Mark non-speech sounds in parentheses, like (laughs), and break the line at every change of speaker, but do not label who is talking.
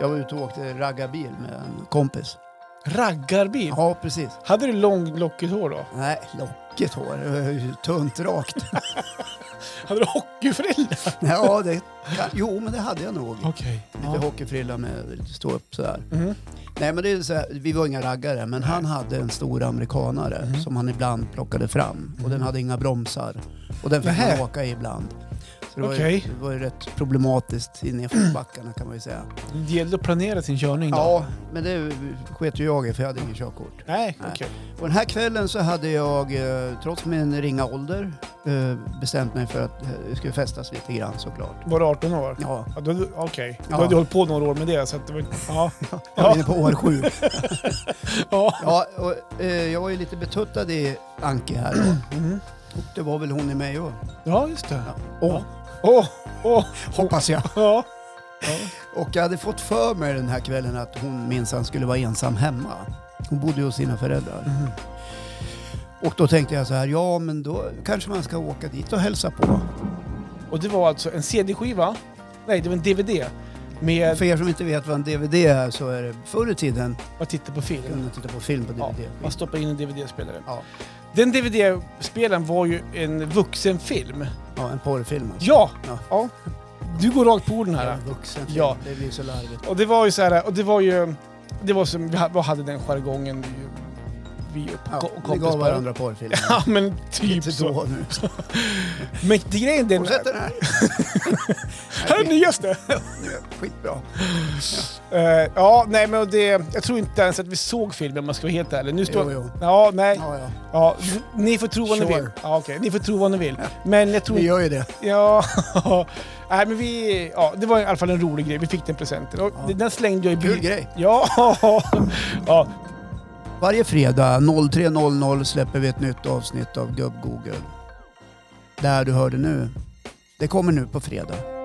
Jag var ute och åkte raggarbil med en kompis.
Raggarbil?
Ja, precis.
Hade du långt lockigt hår då?
Nej, lockigt hår. Det var ju Tunt
(laughs)
rakt.
Hade du hockeyfrilla?
Ja, det, kan- jo, men det hade jag nog.
Okej.
Lite hockeyfrilla med lite stå upp sådär.
Mhm.
Nej, men det är så här, vi var inga raggare, men han hade en stor amerikanare
Mm.
som han ibland plockade fram. Och den hade inga bromsar. Och den fick
Nähä.
man åka i ibland. Så det, var ju,
Okej.
det var ju rätt problematiskt i
(clears throat)
nedförsbackarna kan man ju säga.
Det gällde att planera sin körning då?
Ja, men det sket ju jag i för jag hade ingen körkort.
Nej,
Nej.
okej.
Och den här kvällen så hade jag, eh, trots min ringa ålder, eh, bestämt mig för att eh, det skulle festas lite grann såklart.
Var du 18 år?
Ja,
Ja, då- Okej, då
Ja.
hade du hållit på några år med det. Så att det var, ja.
jag var inne på år sju.
ja.
Ja, och, eh, jag var ju lite betuttad i Anke här då. (clears throat)
Mhm.
och det var väl hon i mig och,
ja, just det.
ja. och
Åh, åh,
hoppas jag.
ja.
Och jag hade fått för mig den här kvällen att hon minsann skulle vara ensam hemma. Hon bodde ju hos sina föräldrar.
Mhm.
Och då tänkte jag så här, ja men då kanske man ska åka dit och hälsa på.
Och det var alltså en CD-skiva? Nej, det var en DVD. Med
För er som inte vet vad en DVD är så är det förr i tiden
att titta på film.
kunde man titta på film på
Ja,
DVD.
man stoppar in en DVD-spelare.
Ja.
Den DVD-spelaren var ju en vuxenfilm.
Ja, en porrfilm alltså.
Ja!
Ja.
ja. Du går rakt på orden här.
Ja, vuxen film.
Ja.
Det blir så larvigt.
Och det var ju så här, och det var ju... Det var som, vi ha- vi hade den jargongen vi, vi och
Ja,
ko-
vi
kompis
gav
på.
varandra porrfilmer.
(laughs) Ja men typ
Inte
så.
då
(laughs)
nu.
Men grejen är den...
Fortsätt den här.
Här är det (laughs) nyaste!
Skitbra.
Eh, ja, nej men och det... Jag tror inte ens att vi såg filmen om man ska vara helt ärlig. Nu
Jo,
står...
jo.
Ja, nej.
Ja, ja.
Ja, ni får tro vad ni
Sure.
vill. Ja, okej. Ni får tro vad ni vill. Men jag tror
Vi gör ju det.
Ja, (laughs) Nej, men vi, ja, det var i alla fall en rolig grej. Vi fick den presenten. Och
Ja.
Den slängde jag i
Kul
bilen.
grej.
Ja, (laughs) ja,
Varje fredag 03.00 släpper vi ett nytt avsnitt av Gubb-Google. Där du hörde nu. Det kommer nu på fredag.